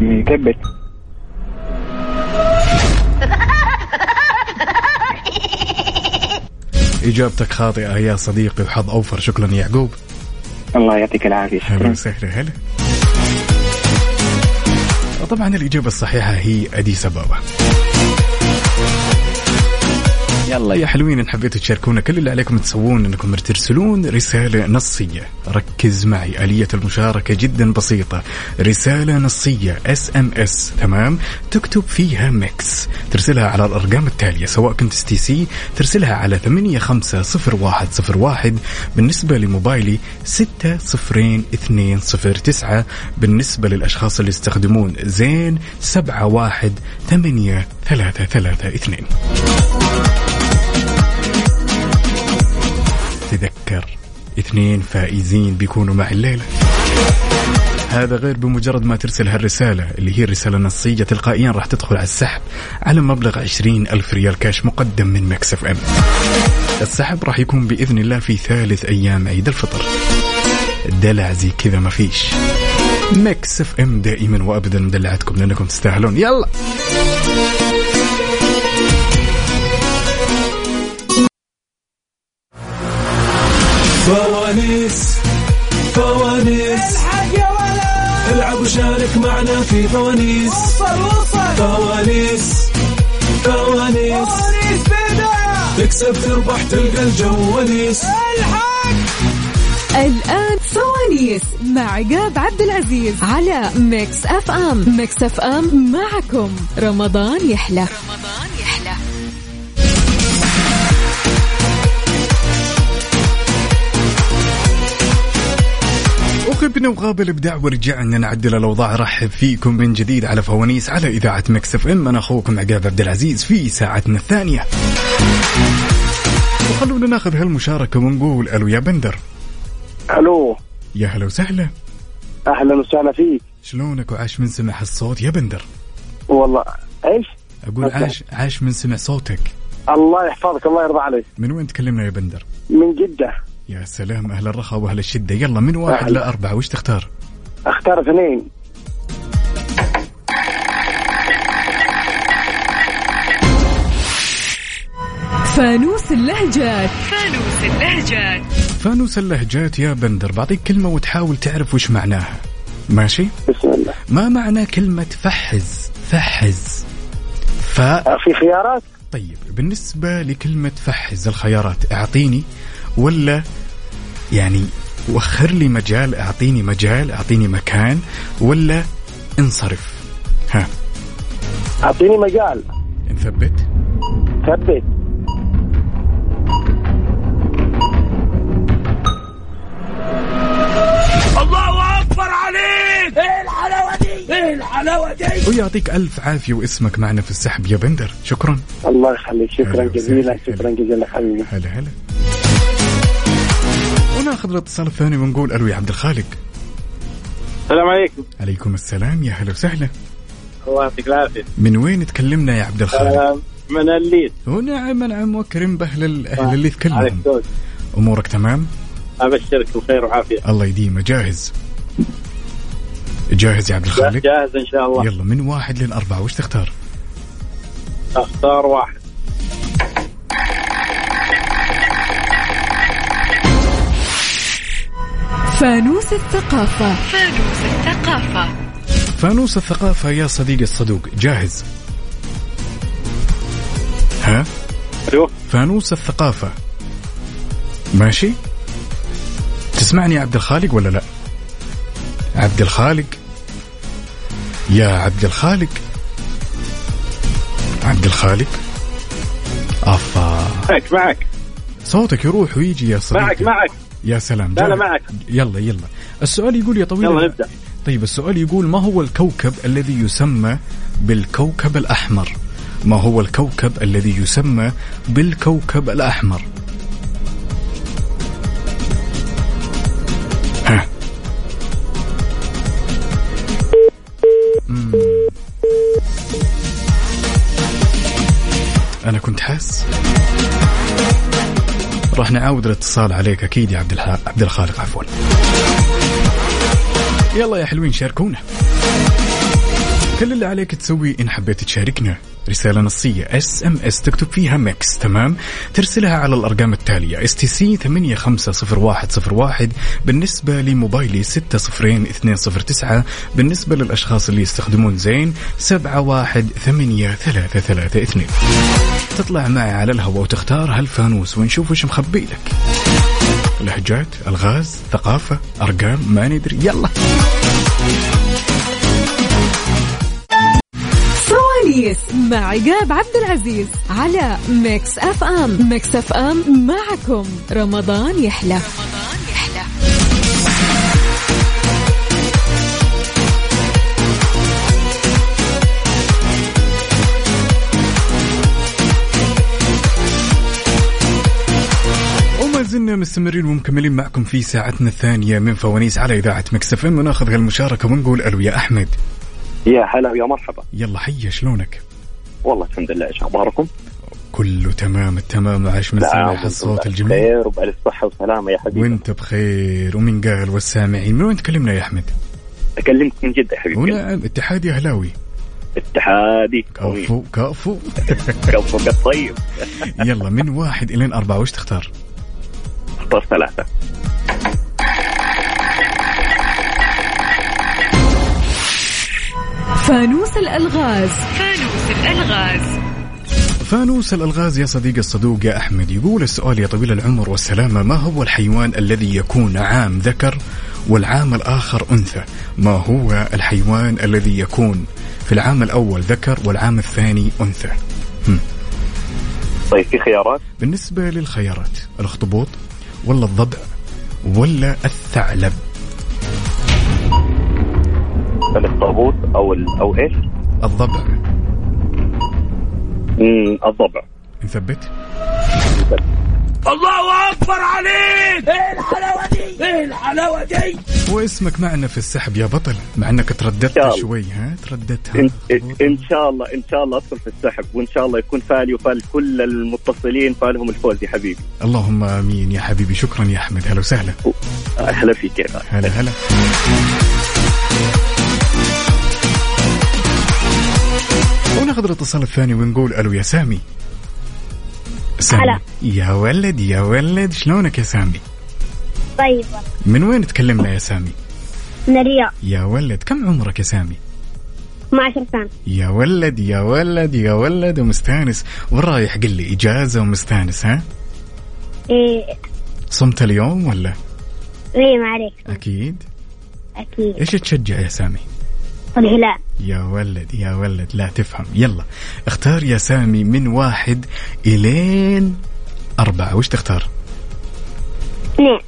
ثبت
إجابتك خاطئة يا صديقي وحظ أوفر شكرا يا يعقوب
الله يعطيك العافية
هلا
شكرا
وسهلا هلا طبعا الإجابة الصحيحة هي أديس أبابا يلا يا حلوين ان حبيتوا تشاركونا كل اللي عليكم تسوون انكم ترسلون رساله نصيه ركز معي اليه المشاركه جدا بسيطه رساله نصيه اس ام اس تمام تكتب فيها ميكس ترسلها على الارقام التاليه سواء كنت اس تي سي ترسلها على 850101 بالنسبه لموبايلي 602209 بالنسبه للاشخاص اللي يستخدمون زين 718332 تذكر اثنين فائزين بيكونوا معي الليلة هذا غير بمجرد ما ترسل هالرسالة اللي هي الرسالة النصية تلقائيا راح تدخل على السحب على مبلغ 20 ألف ريال كاش مقدم من مكسف أم السحب راح يكون بإذن الله في ثالث أيام عيد الفطر الدلع زي كذا ما فيش مكسف أم دائما وأبدا مدلعتكم لأنكم تستاهلون يلا
فوانيس فوانيس
الحق يا ولد
العب وشارك معنا في فوانيس
وصل وصل
فوانيس فوانيس
فوانيس بداية
تكسب تربح تلقى الجواليس
الحق
الآن فوانيس مع عقاب عبد العزيز على ميكس أف أم ميكس أف أم معكم رمضان يحلى رمضان يحلى
وغبنا وغاب الابداع ورجعنا نعدل الاوضاع رحب فيكم من جديد على فوانيس على اذاعه مكسف ام انا اخوكم عقاب عبد العزيز في ساعتنا الثانيه. وخلونا ناخذ هالمشاركه ونقول الو يا بندر
الو
يا هلا وسهلا
اهلا وسهلا فيك
شلونك وعاش من سمع هالصوت يا بندر؟
والله ايش
اقول عاش عاش من سمع صوتك
الله يحفظك الله يرضى عليك
من وين تكلمنا يا بندر؟
من جدة
يا سلام اهل الرخاء واهل الشده يلا من واحد
أهلا.
لاربعه وش تختار؟
اختار اثنين
فانوس اللهجات فانوس اللهجات
فانوس اللهجات يا بندر بعطيك كلمه وتحاول تعرف وش معناها ماشي؟
بسم الله
ما معنى كلمة فحز؟ فحز ف
آه، في خيارات
طيب بالنسبة لكلمة فحز الخيارات اعطيني ولا يعني وخر لي مجال اعطيني مجال اعطيني مكان ولا انصرف ها
اعطيني مجال
نثبت
ثبت
الله أكبر عليك إيه الحلاوة دي إيه الحلاوة دي
ويعطيك الف عافية واسمك معنا في السحب يا بندر شكرا
الله يخليك شكرا
أهلا
جزيلا
وسهلا.
شكرا جزيلا حبيبي
هلا هلا وناخذ الاتصال الثاني ونقول الو يا عبد الخالق
السلام عليكم
عليكم السلام يا هلا وسهلا
الله يعطيك العافيه
من وين تكلمنا يا عبد الخالق؟
آه.
من الليل
ونعم نعم وكرم باهل الاهل اللي كلهم
دود
امورك تمام
ابشرك بخير وعافيه
الله يديمه جاهز جاهز يا عبد الخالق
جاهز ان شاء الله
يلا من واحد للأربعة وش تختار
اختار واحد
فانوس الثقافة فانوس الثقافة
فانوس الثقافة يا صديقي الصدوق جاهز ها
الو
فانوس الثقافة ماشي تسمعني يا عبد الخالق ولا لا عبد الخالق يا عبد الخالق عبد الخالق افا
معك معك
صوتك يروح ويجي يا صديقي
معك معك
يا سلام
لا، لا،
جاوب.
معك.
يلا يلا السؤال يقول يا طويل
يلا نبدأ.
طيب السؤال يقول ما هو الكوكب الذي يسمى بالكوكب الأحمر ما هو الكوكب الذي يسمى بالكوكب الأحمر ها. مم. أنا كنت حاس راح نعاود الاتصال عليك أكيد يا عبد الح... عبد الخالق عفوا يلا يا حلوين شاركونا كل اللي عليك تسوي ان حبيت تشاركنا رسالة نصية اس ام اس تكتب فيها ميكس تمام ترسلها على الارقام التالية اس تي سي 850101 بالنسبة لموبايلي 60209 بالنسبة للاشخاص اللي يستخدمون زين 718332 تطلع معي على الهواء وتختار هالفانوس ونشوف وش مخبي لك لهجات الغاز ثقافة ارقام ما ندري يلا
سواليس مع عقاب عبد العزيز على ميكس اف ام ميكس اف ام معكم رمضان يحلى
وما زلنا مستمرين ومكملين معكم في ساعتنا الثانية من فوانيس على إذاعة مكسف ام وناخذ هالمشاركة ونقول ألو يا أحمد
يا هلا ويا مرحبا
يلا حيا شلونك؟
والله الحمد لله ايش اخباركم؟
كله تمام التمام عاش من سمع الصوت الجميل
خير وبألف صحة وسلامة يا حبيبي
وانت بخير ومن قال والسامعين من وين تكلمنا يا أحمد؟
اكلمك من جدة يا حبيبي
هنا اتحادي أهلاوي
اتحادي
كفو كفو
كفو طيب
يلا من واحد إلين أربعة وش تختار؟
اختار ثلاثة
فانوس الالغاز
فانوس الألغاز
فانوس الألغاز يا صديق الصدوق يا أحمد يقول السؤال يا طويل العمر والسلامة ما هو الحيوان الذي يكون عام ذكر والعام الآخر أنثى ما هو الحيوان الذي يكون في العام الأول ذكر والعام الثاني أنثى هم.
طيب في خيارات
بالنسبة للخيارات الأخطبوط ولا الضبع ولا الثعلب
الاخطبوط او ال... او ايش؟
الضبع
امم الضبع
نثبت
الله اكبر عليك ايه الحلاوه دي ايه الحلاوه دي
واسمك معنا في السحب يا بطل مع انك
إن شاء
ترددت
الله.
شوي ها ترددت ها؟
إن... ان شاء الله ان شاء الله ادخل في السحب وان شاء الله يكون فالي وفال كل المتصلين فالهم الفوز يا حبيبي
اللهم امين يا حبيبي شكرا يا احمد هلا وسهلا
احلى فيك يا غالي.
هلا هلا وناخذ الاتصال الثاني ونقول الو يا سامي سامي
هلا.
يا ولد يا ولد شلونك يا سامي
طيبة
من وين تكلمنا يا سامي
من الرياض
يا ولد كم عمرك يا سامي
12 سنة
يا ولد يا ولد يا ولد ومستانس وين رايح قل لي اجازه ومستانس ها
إيه
صمت اليوم ولا
إيه ما عليك
اكيد
أكيد
ايش تشجع يا سامي
الهلال
يا ولد يا ولد لا تفهم يلا اختار يا سامي من واحد الين أربعة وش تختار
اثنين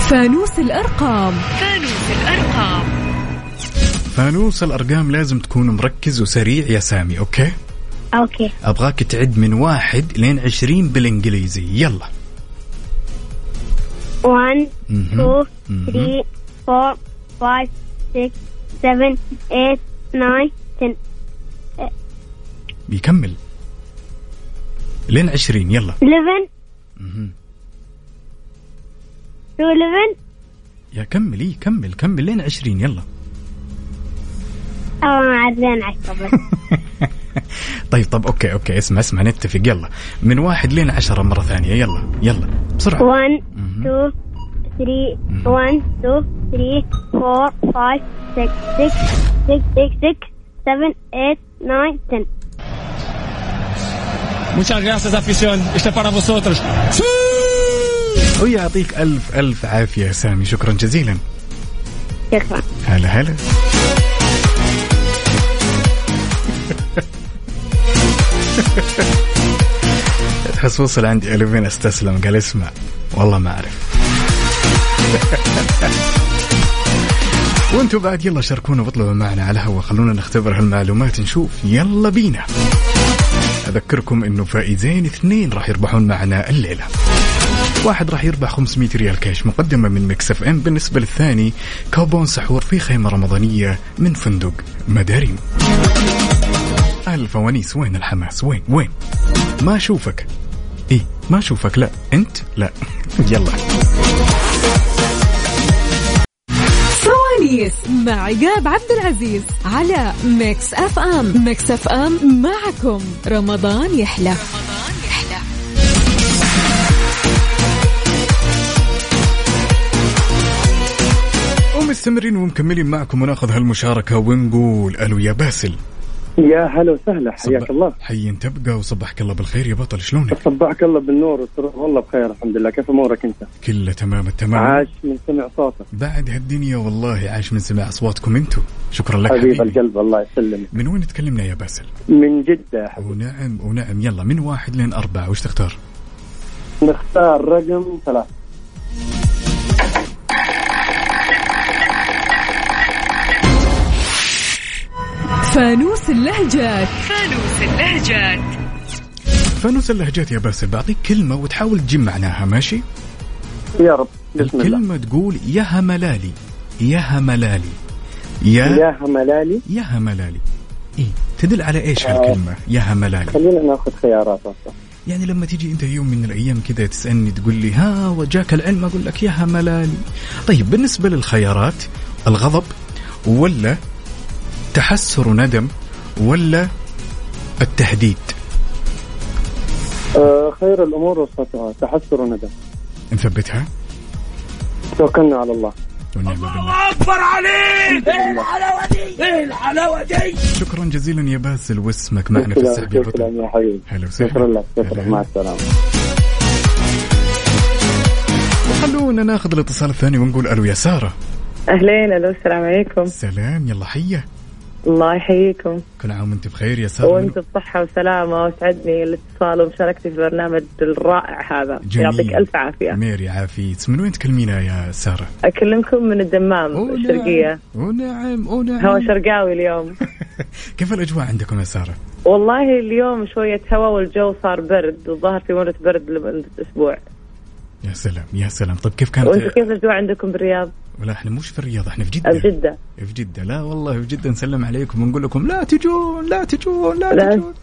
فانوس الارقام
فانوس الأرقام
فانوس الأرقام لازم تكون مركز وسريع يا سامي أوكي
أوكي
أبغاك تعد من واحد لين عشرين بالإنجليزي يلا
1
مهم.
2
مهم.
3 4 5 6 7 8 9 10
بيكمل لين عشرين يلا
11
مهم.
2 11
يا كمل إيه كمل كمل لين عشرين يلا
أو ما عدلين 10 بس
طيب طب أوكي أوكي اسمع اسمع نتفق يلا من واحد لين عشرة مرة ثانية يلا يلا بسرعة
1 2 3 1 2 3 4 5 6 6 6 6 7 8 9 10
Muchas gracias, afición. Este es para vosotros.
ويعطيك ألف ألف عافية يا سامي شكرا جزيلا
شكرا
هلا هلا تحس وصل عندي ألفين استسلم قال اسمع والله ما أعرف وانتم بعد يلا شاركونا واطلبوا معنا على الهوا خلونا نختبر هالمعلومات نشوف يلا بينا أذكركم أنه فائزين اثنين راح يربحون معنا الليلة واحد راح يربح 500 ريال كاش مقدمة من مكسف ام بالنسبة للثاني كوبون سحور في خيمة رمضانية من فندق مداريم أهل الفوانيس وين الحماس وين وين ما أشوفك إيه ما أشوفك لا أنت لا يلا
فوانيس مع عقاب عبد العزيز على ميكس اف ام ميكس اف ام معكم رمضان يحلى
ومستمرين ومكملين معكم وناخذ هالمشاركة ونقول ألو يا باسل
يا هلا وسهلا حياك
صبح-
الله
حي تبقى وصبحك الله بالخير يا بطل شلونك؟
صبحك الله بالنور والسرور والله بخير الحمد لله كيف امورك انت؟
كله تمام التمام
عاش من سمع صوتك
بعد هالدنيا والله عاش من سماع اصواتكم انتم شكرا لك
حبيب
حبيبي
القلب الله يسلمك
من وين تكلمنا يا باسل؟
من جدة يا حبيبي
ونعم ونعم يلا من واحد لين أربعة وش تختار؟
نختار رقم ثلاثة
فانوس اللهجات
فانوس اللهجات
فانوس اللهجات يا باسل بعطيك كلمة وتحاول تجيب معناها ماشي؟
يا رب بسم الله
الكلمة تقول يا هملالي يا هملالي يا
يا هملالي
يا هملالي إيه تدل على ايش
آه.
هالكلمة يا هملالي
خلينا ناخذ خيارات أصلاً.
يعني لما تيجي انت يوم من الايام كذا تسالني تقول لي ها وجاك العلم اقول لك يا هملالي طيب بالنسبه للخيارات الغضب ولا تحسر وندم ولا التهديد
آه خير الامور وسطها تحسر وندم
نثبتها
توكلنا على الله
ونعم بالله
اكبر عليك ايه الحلاوه دي ايه الحلاوه دي
شكرا جزيلا يا باسل واسمك معنا في السحب يا
شكراً- شكراً
بطل
يا حبيبي
هلا وسهلا
شكرا لك
هلا
شكرا
هلا.
مع السلامه
خلونا ناخذ الاتصال الثاني ونقول الو يا ساره
اهلين الو السلام عليكم
سلام يلا حيه
الله يحييكم
كل عام وانت بخير يا ساره
وانتم بصحة وسلامة وسعدني الاتصال ومشاركتي في البرنامج الرائع هذا
جميل.
يعطيك ألف عافية
ميري عافيت من وين تكلمينا يا ساره
أكلمكم من الدمام
أوه،
الشرقية
ونعم ونعم
هوا شرقاوي اليوم
كيف الاجواء عندكم يا ساره
والله اليوم شوية هوا والجو صار برد الظاهر في مرة برد منذ أسبوع
يا سلام يا سلام طيب كيف
وانتم
كانت
كيف الجو عندكم بالرياض؟
لا احنا مش في الرياض احنا في جده
بجدة
في جده لا والله في جده نسلم عليكم ونقول لكم لا تجون لا تجون لا
لا.
تجون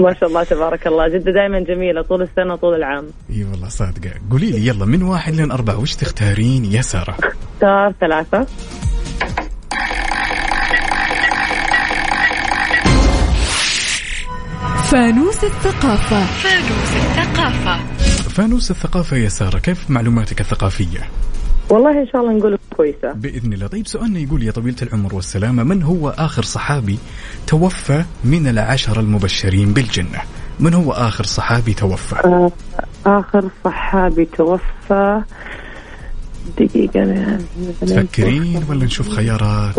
ما شاء الله تبارك الله جدة دائما جميلة طول السنة وطول العام
اي والله صادقه قولي لي يلا من واحد لين اربعه وش تختارين يا ساره
صار ثلاثة
فانوس الثقافة
فانوس الثقافة
فانوس الثقافه يا ساره كيف معلوماتك الثقافيه
والله إن شاء الله نقول كويسة
باذن الله طيب سؤالنا يقول يا طويله العمر والسلامه من هو اخر صحابي توفى من العشره المبشرين بالجنه من هو اخر صحابي توفى
آه، آخر صحابي توفى دقيقة أنا
تفكرين ولا نشوف خيارات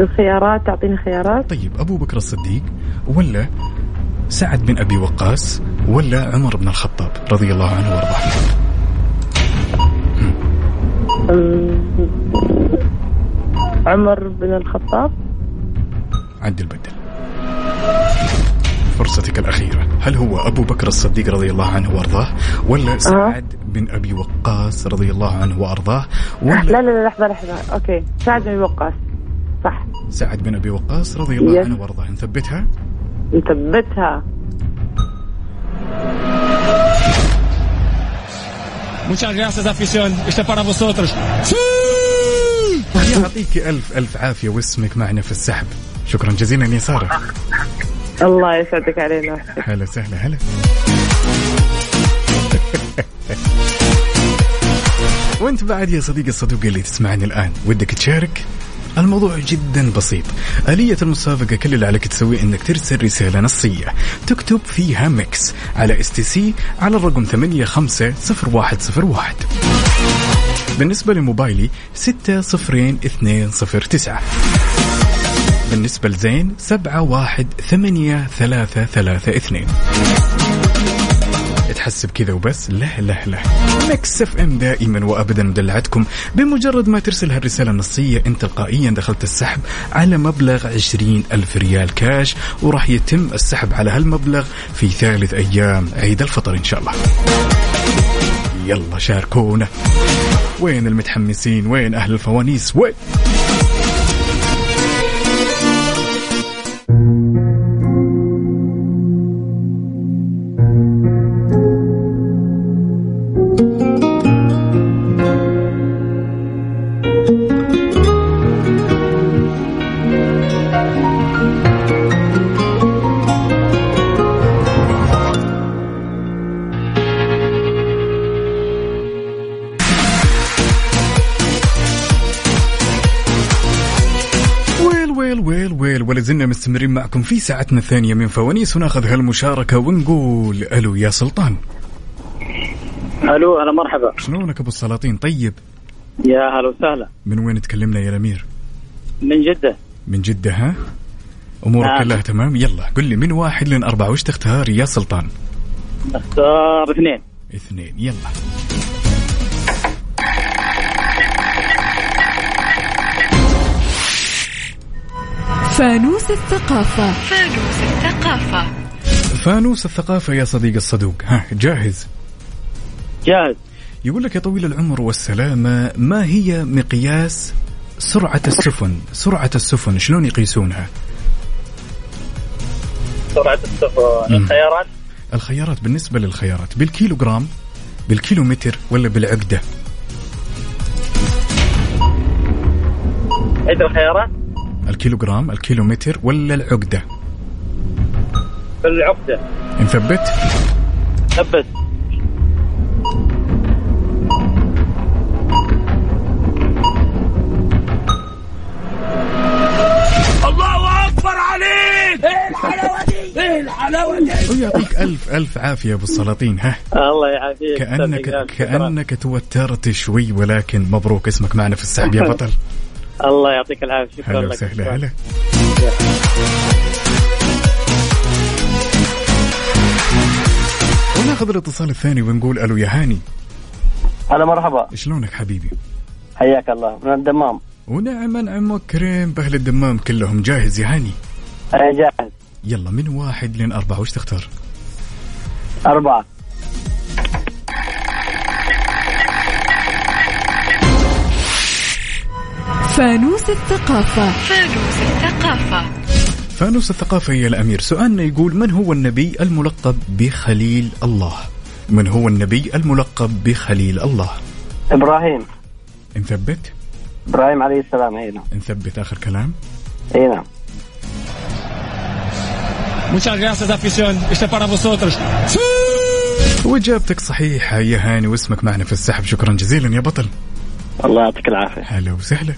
الخيارات تعطيني خيارات
طيب أبو بكر الصديق ولا سعد بن أبي وقاص ولا عمر بن الخطاب رضي الله عنه وارضاه
أم، عمر بن الخطاب
عدل بدل فرصتك الأخيرة هل هو أبو بكر الصديق رضي الله عنه وارضاه ولا سعد بن أبي وقاص رضي الله عنه وارضاه
لا لا
ولا
لا لحظة لحظة أوكي سعد بن وقاص صح
سعد بن أبي وقاص رضي الله
يس.
عنه وارضاه نثبتها
نثبتها
Muchas gracias, afición. Este es para vosotros.
يعطيك ألف ألف عافية واسمك معنا في السحب شكرا جزيلا يا سارة
الله يسعدك علينا
هلا وسهلا هلا وانت بعد يا صديقي الصدوق اللي تسمعني الان ودك تشارك الموضوع جدا بسيط آلية المسابقة كل اللي عليك تسويه انك ترسل رسالة نصية تكتب فيها ميكس على اس تي سي على الرقم 850101 بالنسبة لموبايلي 602209 بالنسبة لزين سبعة واحد ثمانية ثلاثة ثلاثة اثنين تحسب كذا وبس لا لا لا مكس اف ام دائما وابدا مدلعتكم بمجرد ما ترسل هالرساله النصيه انت تلقائيا دخلت السحب على مبلغ عشرين الف ريال كاش وراح يتم السحب على هالمبلغ في ثالث ايام عيد الفطر ان شاء الله يلا شاركونا وين المتحمسين وين اهل الفوانيس وين زلنا مستمرين معكم في ساعتنا الثانية من فوانيس وناخذ هالمشاركة ونقول ألو يا سلطان
ألو هلا مرحبا
شلونك أبو السلاطين طيب
يا هلا وسهلا
من وين تكلمنا يا الأمير
من جدة
من جدة ها أمورك آه. كلها تمام يلا قل لي من واحد لين أربعة وش تختار يا سلطان
اختار اثنين
اثنين يلا
فانوس الثقافة
فانوس الثقافة
فانوس الثقافة يا صديق الصدوق ها جاهز
جاهز
يقول لك يا طويل العمر والسلامة ما هي مقياس سرعة السفن سرعة السفن شلون يقيسونها
سرعة السفن الخيارات
الخيارات بالنسبة للخيارات بالكيلوغرام بالكيلومتر ولا بالعقدة
عيد الخيارات
الكيلوغرام الكيلومتر ولا العقدة
العقدة
نثبت
ثبت
الله اكبر عليك ايه الحلاوه دي ايه الحلاوه دي
ويعطيك الف الف عافيه ابو السلاطين ها
الله
إيه،
يعافيك
كانك كانك توترت شوي ولكن مبروك اسمك معنا في السحب يا بطل
الله يعطيك العافيه شكرا
لك وسهلا هلا وناخذ الاتصال الثاني ونقول الو يا هاني
هلا مرحبا
شلونك حبيبي؟
حياك الله من الدمام
ونعم انعم كريم باهل الدمام كلهم جاهز يا هاني؟
انا جاهز
يلا من واحد لين اربعه وش تختار؟
اربعه
فانوس الثقافة
فانوس الثقافة
فانوس الثقافة يا الأمير سؤالنا يقول من هو النبي الملقب بخليل الله من هو النبي الملقب بخليل الله
إبراهيم
نثبت
إبراهيم عليه السلام نعم. هنا
نثبت آخر كلام
هنا
Muchas gracias, afición. Este para vosotros.
واجابتك صحيحة يا هاني واسمك معنا في السحب شكرا جزيلا يا بطل.
الله يعطيك العافيه
هلا وسهلا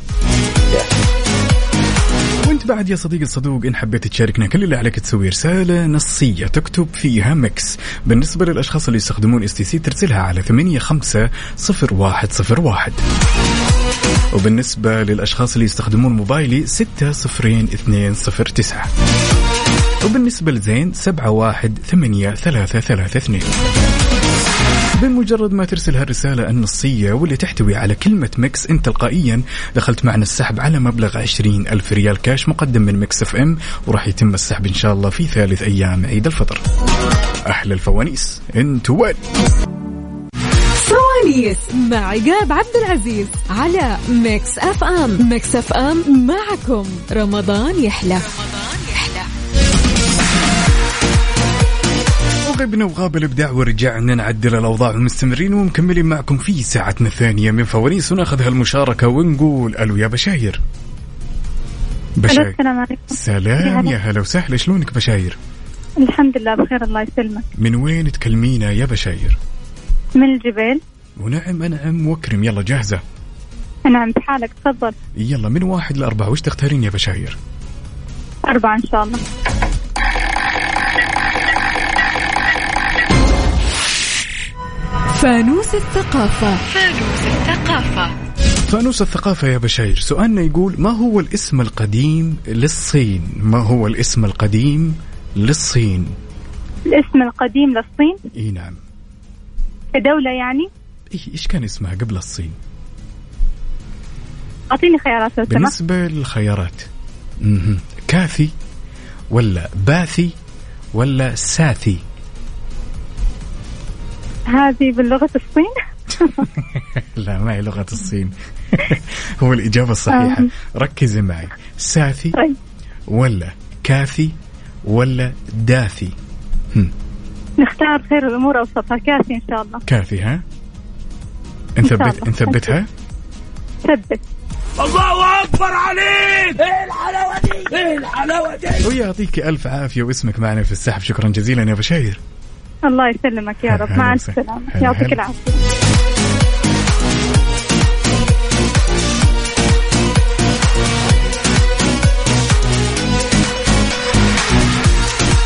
وانت بعد يا صديقي الصدوق ان حبيت تشاركنا كل اللي عليك تسوي رساله نصيه تكتب فيها مكس بالنسبه للاشخاص اللي يستخدمون اس تي سي ترسلها على 850101 وبالنسبه للاشخاص اللي يستخدمون موبايلي 60209 وبالنسبه لزين 718332 بمجرد ما ترسل هالرسالة النصية واللي تحتوي على كلمة مكس انت تلقائيا دخلت معنا السحب على مبلغ عشرين ألف ريال كاش مقدم من مكس اف ام وراح يتم السحب ان شاء الله في ثالث ايام عيد الفطر احلى الفوانيس انت وين
فوانيس مع عقاب عبد العزيز على مكس اف ام مكس اف ام معكم رمضان يحلى رمضان يحلى
غبنا وغاب الابداع ورجعنا نعدل الاوضاع ومستمرين ومكملين معكم في ساعتنا الثانيه من فوانيس وناخذ هالمشاركه ونقول الو يا بشاير
بشاير السلام عليكم
سلام يا هلا وسهلا شلونك بشاير
الحمد لله بخير الله يسلمك
من وين تكلمينا يا بشاير
من الجبال
ونعم انعم واكرم يلا جاهزه
نعم بحالك تفضل
يلا من واحد لاربعه وش تختارين يا بشاير
أربعة إن شاء الله
فانوس الثقافة
فانوس الثقافة
فانوس الثقافة يا بشاير سؤالنا يقول ما هو الاسم القديم للصين ما هو الاسم القديم للصين
الاسم القديم للصين
اي نعم
كدولة يعني
إيه ايش كان اسمها قبل الصين
أعطيني خيارات لو سمحت
بالنسبة للخيارات مهم. كاثي ولا باثي ولا ساثي
هذه باللغة الصين
لا ما هي لغة الصين هو الإجابة الصحيحة
آه.
ركزي معي ساثي ولا كاثي ولا داثي
نختار خير الأمور أوسطها كافي إن شاء الله
كاثي ها
إن شاء
نثبت
الله.
نثبتها
ثبت
الله اكبر عليك ايه الحلاوه دي ايه الحلاوه دي
ويعطيك ألف عافية واسمك معنا في السحب شكرا جزيلا يا بشاير
الله يسلمك يا رب
هلا
وسهلا.
مع السلامة
هلا
يعطيك
هلا.
العافية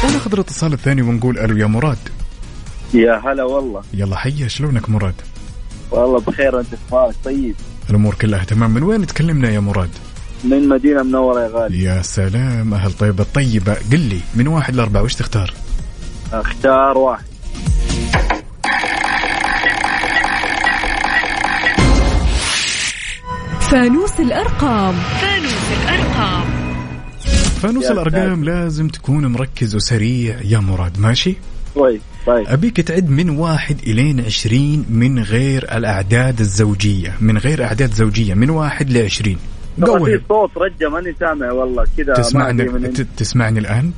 وناخذ الاتصال الثاني ونقول ألو يا مراد
يا هلا والله
يلا حيا شلونك مراد
والله بخير انت اخبارك طيب
الأمور كلها تمام من وين تكلمنا يا مراد
من مدينه منوره يا غالي
يا سلام أهل طيبة الطيبة قل لي من واحد لأربعة وش تختار
اختار واحد
فانوس الأرقام
فانوس الأرقام
فانوس
يا
الأرقام لازم تكون مركز وسريع يا مراد ماشي
طيب طيب
أبيك تعد من واحد إلين عشرين من غير الأعداد الزوجية من غير أعداد زوجية من واحد لعشرين
طبعا
قوي
في صوت رجع ماني سامع والله كذا
تسمعني
ما أدري من...
ت- تسمعني الآن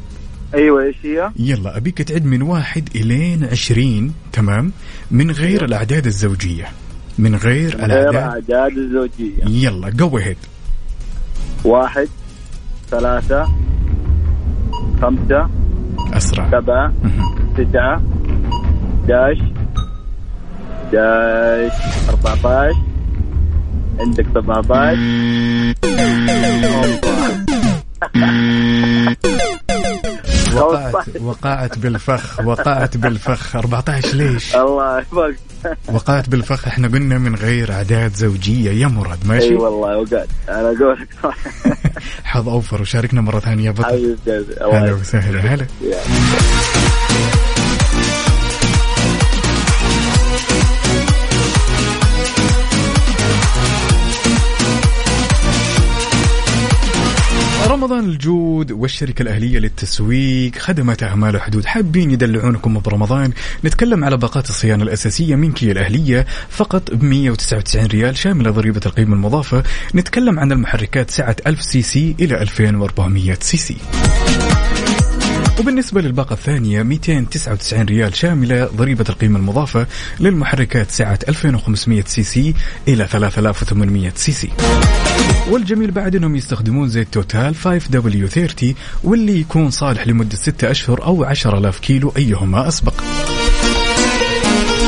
ايوه ايش هي؟
يلا أبيك تعد من واحد إلين عشرين تمام من غير الأعداد الزوجية من غير
غير
الأعداد
اعداد الزوجيه
يلا جو هيد
واحد ثلاثة خمسة
أسرع
سبعة تسعة 11 11 14 عندك 17
وقعت وقعت بالفخ وقعت بالفخ 14 ليش
الله يحفظك
وقعت بالفخ احنا قلنا من غير اعداد زوجيه يا مراد ماشي
اي والله وقعت انا اقول لك
حظ اوفر وشاركنا مره ثانيه يا بطل
حبيب قلبي الله
هلا
يحفظك.
وسهلا هلا
يا.
رمضان الجود والشركة الأهلية للتسويق خدمت أعمال حدود حابين يدلعونكم برمضان نتكلم على باقات الصيانة الأساسية من كيا الأهلية فقط ب 199 ريال شاملة ضريبة القيمة المضافة نتكلم عن المحركات سعة 1000 سي سي إلى 2400 سي سي وبالنسبة للباقة الثانية 299 ريال شاملة ضريبة القيمة المضافة للمحركات سعة 2500 سي سي إلى 3800 سي سي والجميل بعد انهم يستخدمون زيت توتال 5W30 واللي يكون صالح لمدة 6 اشهر او 10000 كيلو ايهما اسبق.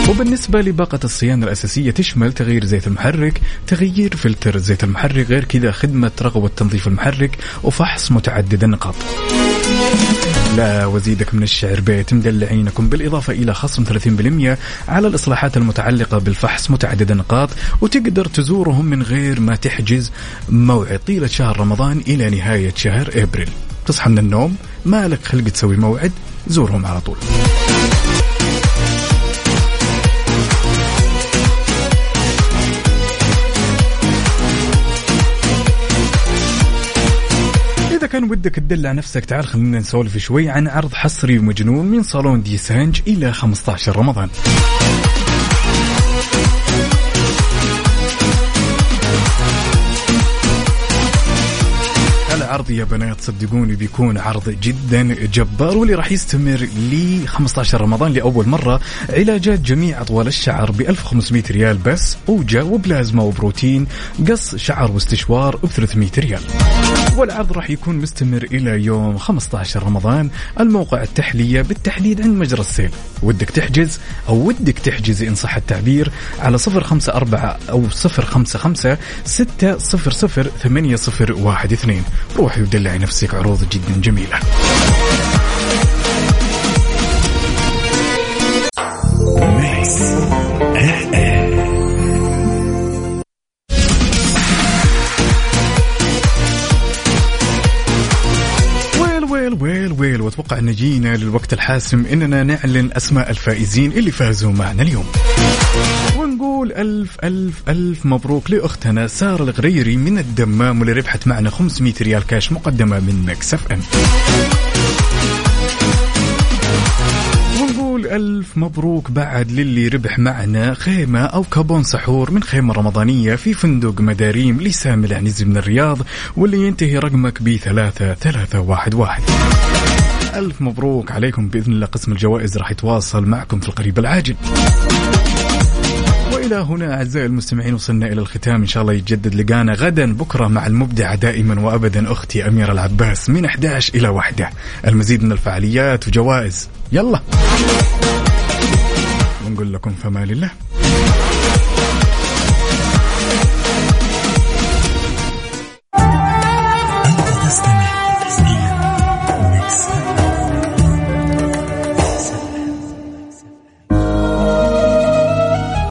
وبالنسبة لباقة الصيانة الأساسية تشمل تغيير زيت المحرك تغيير فلتر زيت المحرك غير كذا خدمة رغوة تنظيف المحرك وفحص متعدد النقاط لا وزيدك من الشعر بيت مدلعينكم بالإضافة إلى خصم 30% على الإصلاحات المتعلقة بالفحص متعدد النقاط وتقدر تزورهم من غير ما تحجز موعد طيلة شهر رمضان إلى نهاية شهر أبريل تصحى من النوم مالك خلق تسوي موعد زورهم على طول إذا كان ودك تدلع نفسك تعال خلينا نسولف شوي عن عرض حصري ومجنون من صالون دي سانج إلى 15 رمضان العرض يا بنات صدقوني بيكون عرض جدا جبار واللي راح يستمر ل 15 رمضان لاول مره علاجات جميع اطوال الشعر ب 1500 ريال بس اوجه وبلازما وبروتين قص شعر واستشوار ب 300 ريال والعرض راح يكون مستمر الى يوم 15 رمضان الموقع التحليه بالتحديد عند مجرى السيل ودك تحجز او ودك تحجزي ان صح التعبير على 054 او 055 600 8012 روحي ودلعي نفسك عروض جدا جميله واتوقع ان جينا للوقت الحاسم اننا نعلن اسماء الفائزين اللي فازوا معنا اليوم ونقول ألف ألف ألف مبروك لأختنا سارة الغريري من الدمام واللي ربحت معنا 500 ريال كاش مقدمة من مكسف أم ونقول ألف مبروك بعد للي ربح معنا خيمة أو كابون سحور من خيمة رمضانية في فندق مداريم لسام العنزي من الرياض واللي ينتهي رقمك ب 3311 ألف مبروك عليكم بإذن الله قسم الجوائز راح يتواصل معكم في القريب العاجل وإلى هنا أعزائي المستمعين وصلنا إلى الختام إن شاء الله يتجدد لقانا غدا بكرة مع المبدعة دائما وأبدا أختي أميرة العباس من 11 إلى 1 المزيد من الفعاليات وجوائز يلا ونقول لكم فما لله